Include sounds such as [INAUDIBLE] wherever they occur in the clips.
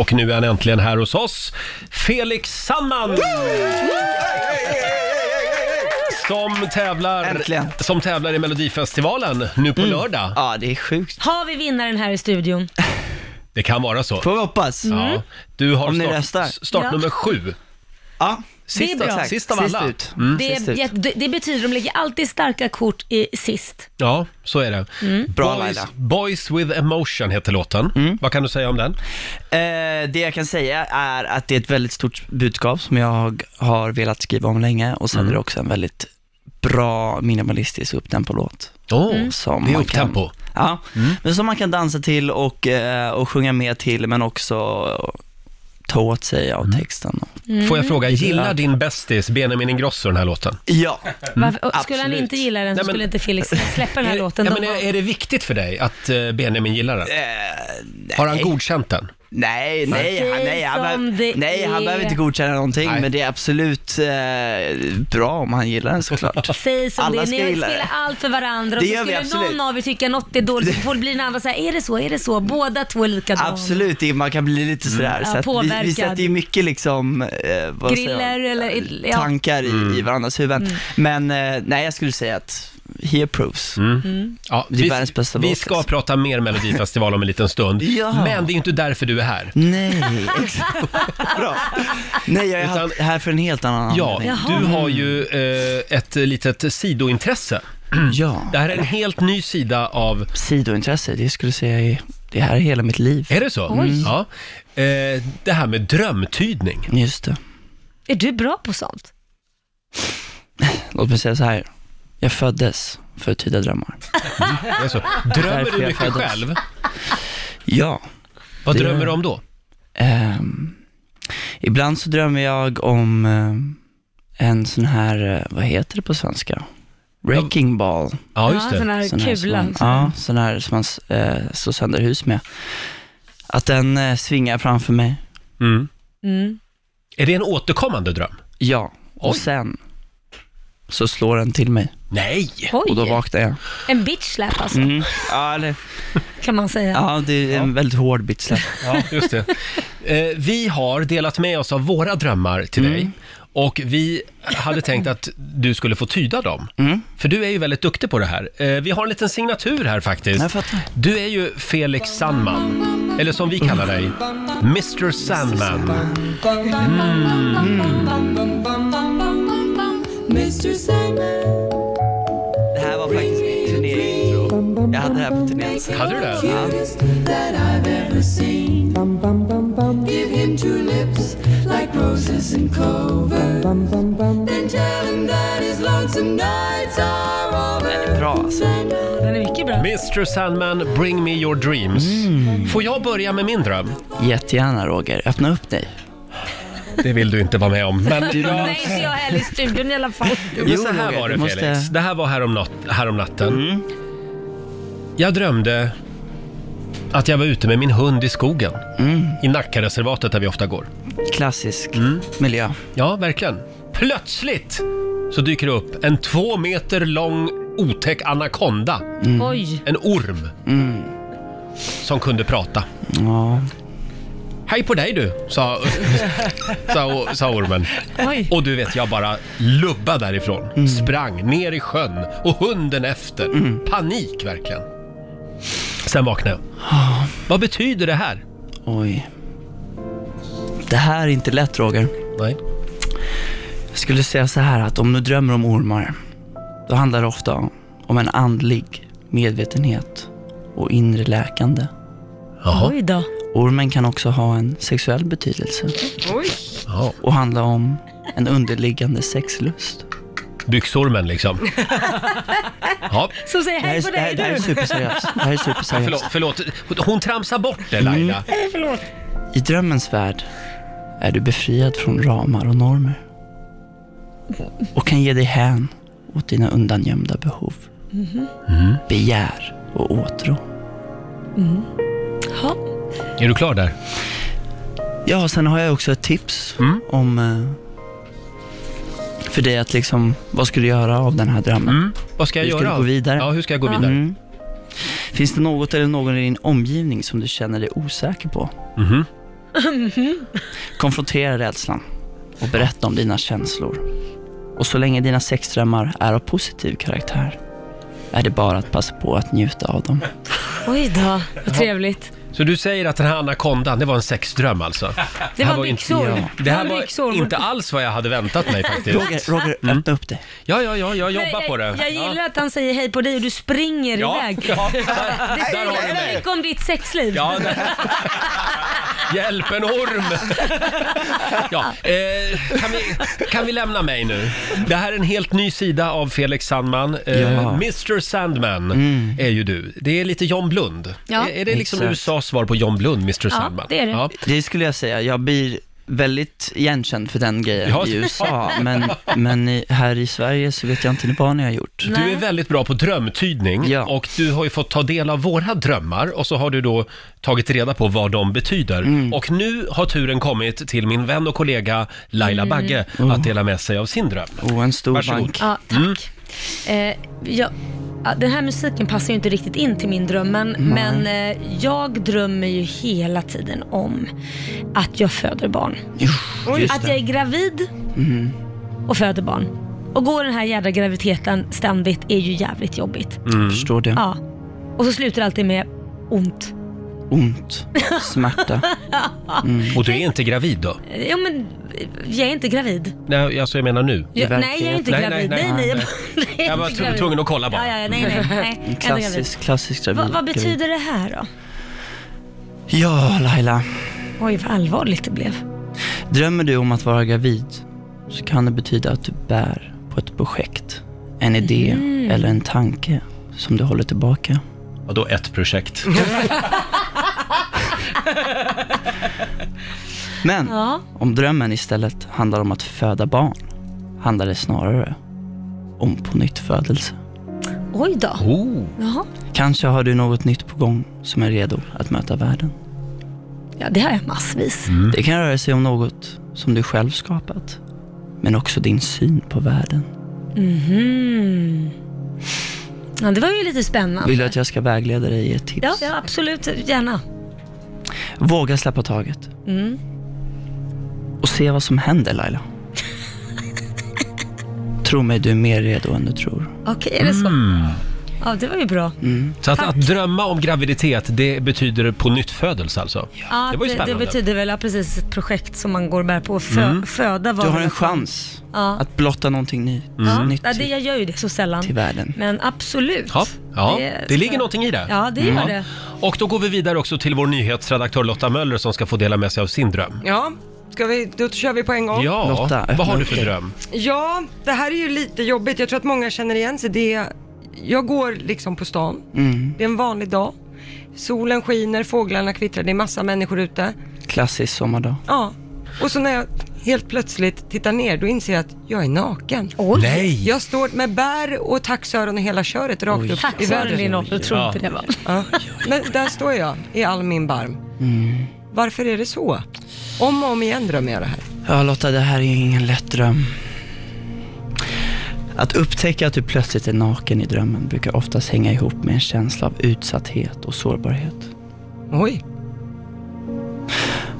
Och nu är han äntligen här hos oss. Felix Sandman! Som tävlar, Äntligen. Mm. som tävlar i Melodifestivalen nu på lördag. Ja, det är sjukt. Har vi vinnaren här i studion? Mm, Det kan vara så. Får vi hoppas? Ja. Du har Mm. Om ni röstar. start, start Ja. nummer sju. Ja, det är bra. Mm. exakt. sist av alla. Sist ut. Det, Sist är, ut. jätte- det, det betyder de lägger alltid starka kort i sist. Ja, så är det. Mm. Bra Boys, Laila. Mm. Boys with emotion heter låten. Vad kan du säga om den? Eh, det jag kan säga är att det är ett väldigt stort budskap som jag har velat skriva om länge och sen är det också en väldigt bra minimalistisk upptempo-låt. Åh, Mm. Som Mm. det är man kan- upptempo. Ja, men som man kan dansa till och, eh, och sjunga med till men också ta åt sig av texten. Får jag fråga, gillar Ja. din bästis Benjamin Ingrosso den här låten? Ja, Varför, och skulle Mm, han absolut. inte gilla den så Nej, men- skulle [LAUGHS] inte Felix släppa den här Är- låten. ja, De men är, var- är det viktigt för dig att eh, Benjamin gillar den? Eh, Har han godkänt den? Nej, nej, han, nej, han, Det är som behöver- det nej, han är. behöver inte godkänna någonting, Nej. men det är absolut eh, bra om han gillar den [LAUGHS] såklart. Säg som Alla det är, ska ni gilla det. spelar allt för varandra och Det så gör vi skulle någon absolut. av er tycka något är dåligt, så blir den andra så här, är det så, är det så? Båda två är likadana. Absolut, det- man kan bli lite Mm. sådär. Ja, så att vi, vi påverkad. sätter ju mycket liksom, eh, vad Griller säger man? eller- ja. Mm. tankar i, Mm. i varandras huvuden. Men eh, nej, jag skulle säga att he approves. Ja, Det är världens bästa vi låt, ska alltså. prata mer Melodifestival om en liten stund. [LAUGHS] Ja. Men det är ju inte därför du är här. Nej, exakt. [LAUGHS] Bra. Nej, jag är Utan- här för en helt annan Ja, anledning. du har ju eh, ett litet sidointresse. ja. Det här är en helt ny sida av... Sidointresse, det skulle jag säga är, det här är hela mitt liv. Är det så? Mm. Ja. Eh, det här med drömtydning. Just det. Är du bra på sånt? Låt mig säga så här. Jag föddes för att tyda drömmar. Det är så. Drömmer Därför du jag mycket föddes. själv? Ja. Vad Det- drömmer du om då? ehm, ibland så drömmer jag om eh, en sån här, eh, vad heter det på svenska? Wrecking ball. Ja, just sån det. här Sån här som kula. man, ja, sån här som man eh, slår sönder hus med. Att den eh, svingar framför mig. Mm. Mm. Är det en återkommande dröm? Ja. Och Oj. sen så slår den till mig Nej! Oj, och då vaknar jag. en bitch slap alltså, Mm. Ja, eller, kan man säga. ja, det är en väldigt hård bit släpp. Ja, just det. Eh, vi har delat med oss av våra drömmar till dig. Och vi hade tänkt att du skulle få tyda dem. För du är ju väldigt duktig på det här. Eh, vi har en liten signatur här faktiskt. Jag fattar. Du är ju Felix Sandman. Eller som vi kallar dig, Mr Sandman. Det här var faktiskt mitt turnéintro. Jag hade det här på turnén. Hade du det? Ja. Give him two lips like roses and clover. And tell him that his lonesome nights are over. Den är bra alltså. Den är mycket bra. Mr Sandman, bring me your dreams. Får jag börja med min dröm? Jättegärna Roger, öppna upp dig. Det vill [LAUGHS] du inte vara med om. Men Nej, inte jag heller i studion i alla fall. Men Jo, så här Roger, var det du måste- Mm. Felix. Det här var härom, nat- härom natten. Jag drömde att jag var ute med min hund i skogen. Mm. I Nackareservatet där vi ofta går. Klassisk miljö. Ja, verkligen. Plötsligt så dyker det upp en två meter lång otäck anakonda. Mm. Oj, En orm. Som kunde prata. Ja. Hej på dig du, sa, [LAUGHS] sa, sa ormen. oj. Och du vet, jag bara lubba därifrån. Sprang ner i sjön och hunden efter. Panik verkligen. Sen vaknade jag. Vad betyder det här? Oj. Det här är inte lätt Roger. Nej. Jag skulle säga så här att om du drömmer om ormar, då handlar det ofta om en andlig medvetenhet och inre läkande. Jaha. Oj då. Ormen kan också ha en sexuell betydelse Ja. och handla om en underliggande sexlust. Byxormen liksom. Ja. Som säger Det här hej på är, det här, dig det här är du. superseriöst. Det här är Förlåt, superseriöst. förlåt. Hon tramsar bort det Laila. I drömmens värld är du befriad från ramar och normer och kan ge dig hän åt dina undangömda behov, begär och åtrå. Ja. Är du klar där? Ja, och sen har jag också ett tips om eh, för dig att liksom, vad ska du göra av den här drömmen? Mm. Vad ska jag Hur ska göra? du gå vidare? Ja, hur ska jag gå vidare? Mm. Finns det något eller någon i din omgivning som du känner dig osäker på? Mhm. Mm-hmm. Konfrontera rädslan och berätta om dina känslor. Och så länge dina sexdrömmar är av positiv karaktär är det bara att passa på att njuta av dem. Oj då, vad trevligt. Så du säger att den här anakondan, det var en sexdröm alltså? Det här var byxor. Inte, Det här var byxor. inte alls vad jag hade väntat mig [LAUGHS] faktiskt. Roger, Roger Mm. öppna upp dig. Ja, ja, ja, jag Nej, jobbar på det. Jag, jag Ja. gillar att han säger hej på dig och du springer Ja, iväg. ja, där, Det där har du säger mig. mycket om ditt sexliv. Ja, där. Hjälp, en orm! Ja, eh, kan, vi, kan vi lämna mig nu? Det här är en helt ny sida av Felix Sandman. Eh, Ja. Mm. Mr Sandman är ju du. Det är lite John Blund. Ja. Är, är det liksom Exakt. USAs svar på John Blund, Mr Sandman? det är det. Det skulle jag säga, jag blir väldigt igenkänd för den grejen Ja. i USA, men, men i, här i Sverige så vet jag inte vad ni har gjort. Du Nej. är väldigt bra på drömtydning Ja. och du har ju fått ta del av våra drömmar och så har du då tagit reda på vad de betyder. Och nu har turen kommit till min vän och kollega Laila Mm. Bagge att dela med sig av sin dröm. Och en stor Varsågod. bank. Ja, tack. Mm. Eh, jag, ja, den här musiken passar ju inte riktigt in till min dröm, men, men eh, jag drömmer ju hela tiden om att jag föder barn. Just Att jag det. är gravid Mm. och föder barn. Och går den här jävla graviditeten ständigt är ju jävligt jobbigt. Mm. Förstår det. Ja. Och så slutar det alltid med ont. Ont, [LAUGHS] smärta. Och du är inte gravid då? Eh, Ja men, eh, jag är inte gravid. Nej, alltså jag menar nu. Jag, nej, jag är verkligheten. inte Nej, gravid. nej, Nej, nej, nej. nej. nej. [LAUGHS] nej. Jag var inte tv- gravid. tvungen att kolla Ja, bara. ja, ja, nej, [LAUGHS] nej. nej. jag är inte gravid. Klassisk, klassisk gravid. Vad, vad betyder det här då? Ja, Laila. Oj, vad allvarligt det blev. Drömmer du om att vara gravid så kan det betyda att du bär på ett projekt, en idé Mhm. eller en tanke som du håller tillbaka. Och då ett projekt. Men Ja. om drömmen istället handlar om att föda barn handlar det snarare om på nytt födelse. Oj då. Oh. Jaha. Kanske har du något nytt på gång som är redo att möta världen. Ja, det har jag massvis. Mm. Det kan röra sig om något som du själv skapat, men också din syn på världen. Mm. Ja, det var ju lite spännande. Vill du att jag ska vägleda dig i ett tips? Ja, ja, absolut. Gärna. Våga släppa taget. Mm. Och se vad som händer Laila. Tro mig, du är mer redo än du tror. Okej, är det så? Mm. Ja, det var ju bra. Så att, att drömma om graviditet, det betyder på nytt födelse alltså? Ja, Det var ju det, spännande. Mm. betyder väl ja, precis ett projekt som man går och bär på. Fö, Föda var Du har väl- en chans Ja. Mm. att blotta någonting ny, nytt Ja, det, till, jag gör ju det så sällan. till världen. Men absolut. Ja, ja. Det- Det, ligger Mm. någonting i det. Ja, det gör det. Och då går vi vidare också till vår nyhetsredaktör Lotta Möller som ska få dela med sig av sin dröm. Ja, ska vi, då kör vi på en gång. Ja, Lotta, öppna vad har du upp för dig. dröm? Ja, det här är ju lite jobbigt. Jag tror att många känner igen sig. Det är, jag går liksom på stan. Det är en vanlig dag. Solen skiner, fåglarna kvittrar, det är massa människor ute. Klassisk sommardag. Ja, och så när jag helt plötsligt tittar ner, då inser jag att jag är naken. Oj. Nej! Jag står med bär och taxöron och hela köret rakt Oj. upp i Taxören vädret. är noll, jag tror inte det va? Ja. Men där står jag i all min barm. Varför är det så? Om och om igen drömmer jag det här. Ja Lotta, det här är ingen lätt dröm. Att upptäcka att du plötsligt är naken i drömmen brukar oftast hänga ihop med en känsla av utsatthet och sårbarhet. Oj.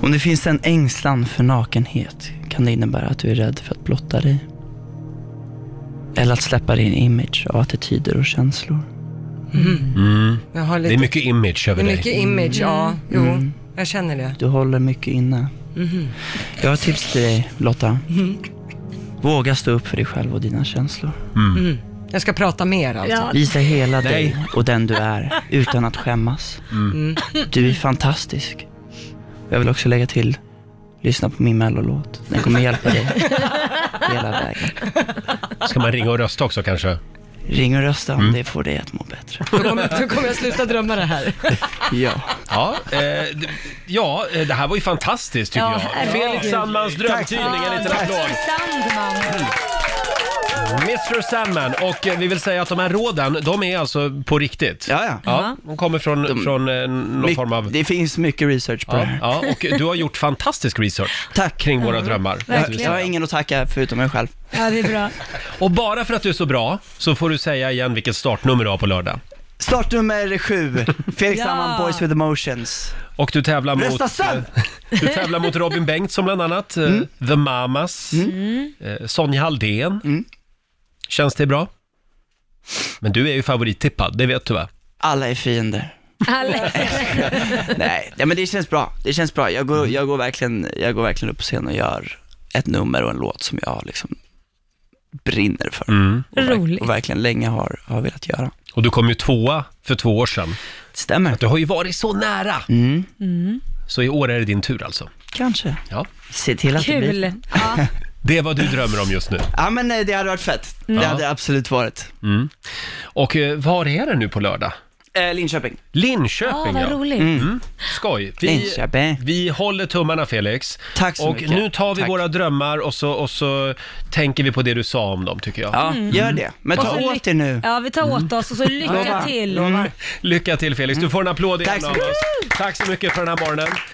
Om det finns en ängslan för nakenhet kan det innebära att du är rädd för att blotta dig. Eller att släppa din image av attityder och känslor. Jag har lite... Det är mycket image Det över är dig. mycket image, ja. Jo, jag känner det. Du håller mycket inne. Jag har ett tips till dig, Lotta. Våga stå upp för dig själv och dina känslor. Jag ska prata mer alltså. Ja. Visa hela Nej. dig och den du är utan att skämmas. Du är fantastisk. Jag vill också lägga till, lyssna på min mellolåt. Den kommer hjälpa dig hela vägen. Ska man ringa och rösta också kanske? Ring och rösta om det får dig att må bättre. Då, kommer, då kommer jag sluta drömma det här. Ja. Ja, eh, d- ja eh, det här var ju fantastiskt tycker Ja, jag. herregud. Felix Sandmans drömtidning, en liten applåd. Sandman. Mr Sandman, och eh, vi vill säga att de här råden, de är alltså på riktigt. Ja, ja. ja de kommer från, från eh, någon My- form av... Det finns mycket research på det Ja, här. ja, och du har gjort fantastisk research Tack. kring våra drömmar. måste vi Jag, jag säga. har ingen att tacka förutom mig själv. Ja, det är bra. Och bara för att du är så bra så får du säga igen vilket startnummer du har på lördag. Startnummer sju, Felix Ja. Sandman, Boys with Emotions. Och du tävlar mot... eh, Rösta sen! Du tävlar mot Robin Bengtsson bland annat, eh, Mm. The Mamas, eh, Sonja Halldén. Mm. Känns det bra? Men du är ju favorittippad, det vet du va? Alla är fiender. Alla- [LAUGHS] Nej, ja, men det känns bra. Det känns bra. Jag går, jag, går verkligen, jag går verkligen upp på scen och gör ett nummer och en låt som jag liksom brinner för. Mm. Och, verk- Roligt. och verkligen länge har, har velat göra. Och du kom ju tvåa för två år sedan. Stämmer. Du har ju varit så nära! Mm. Mm. Så i år är det din tur alltså. Kanske. Ja. Se till att det blir. Kul. Ja. Det är vad du drömmer om just nu. Ja, men eh, det hade varit fett. Det hade det absolut varit. Och eh, var är det nu på lördag? Eh, Linköping. Linköping Ja, Ah, vad roligt. Skoj. Vi, Linköping. vi håller tummarna Felix. Tack så och mycket. nu tar vi Tack. våra drömmar och så, och så tänker vi på det du sa om dem tycker jag. Ja, Mm. gör det. Men Och ta så ly- åt er nu. Mm. Ja, vi tar åt oss och så lycka Lovar. till. Lovar. Lycka till Felix, du får en applåd igen Tack så av mycket. oss. Tack så mycket för den här morgonen.